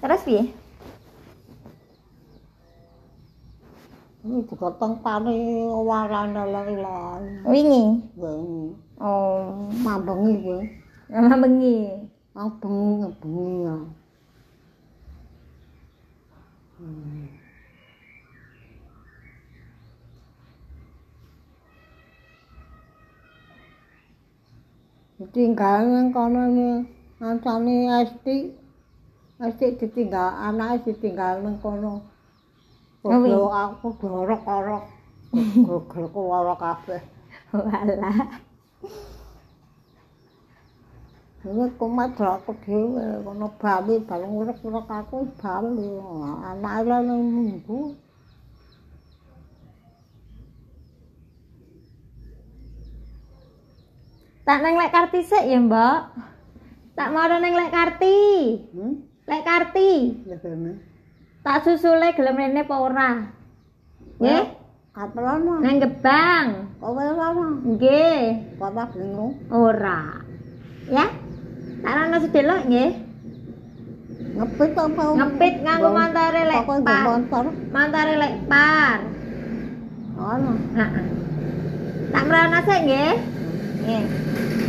Terus piye? Ini digotong pari warane lelai. Wingi. Wengi. Oh, Mambengi kuwi. mama bengi. Abeng bengi ya. Ditinggal nang kono ni ngancani Esti. Esti ditinggal anake ditinggal nang kono. Kuwi. Kudu aku dorok-orok. Gogel kuwara kabeh. Walah. Ini kumat aku dhewe kono bali bali urip-urip aku bali anak lan minggu Tak nang lek karti sik ya, Mbok. Tak maro nang lek karti. hmm Lek karti. ya kene Tak susule gelem rene apa ora? Nggih, kapelan nang gebang. kowe lan Nggih, papa bingung ora. Ya. Tak ana sedelok nggih. ngepit apa Ngepit nganggo Bang, mantare lek papa nggo par. montor Mantare lek par. ana Heeh. Tak merana sik nggih. Nggih.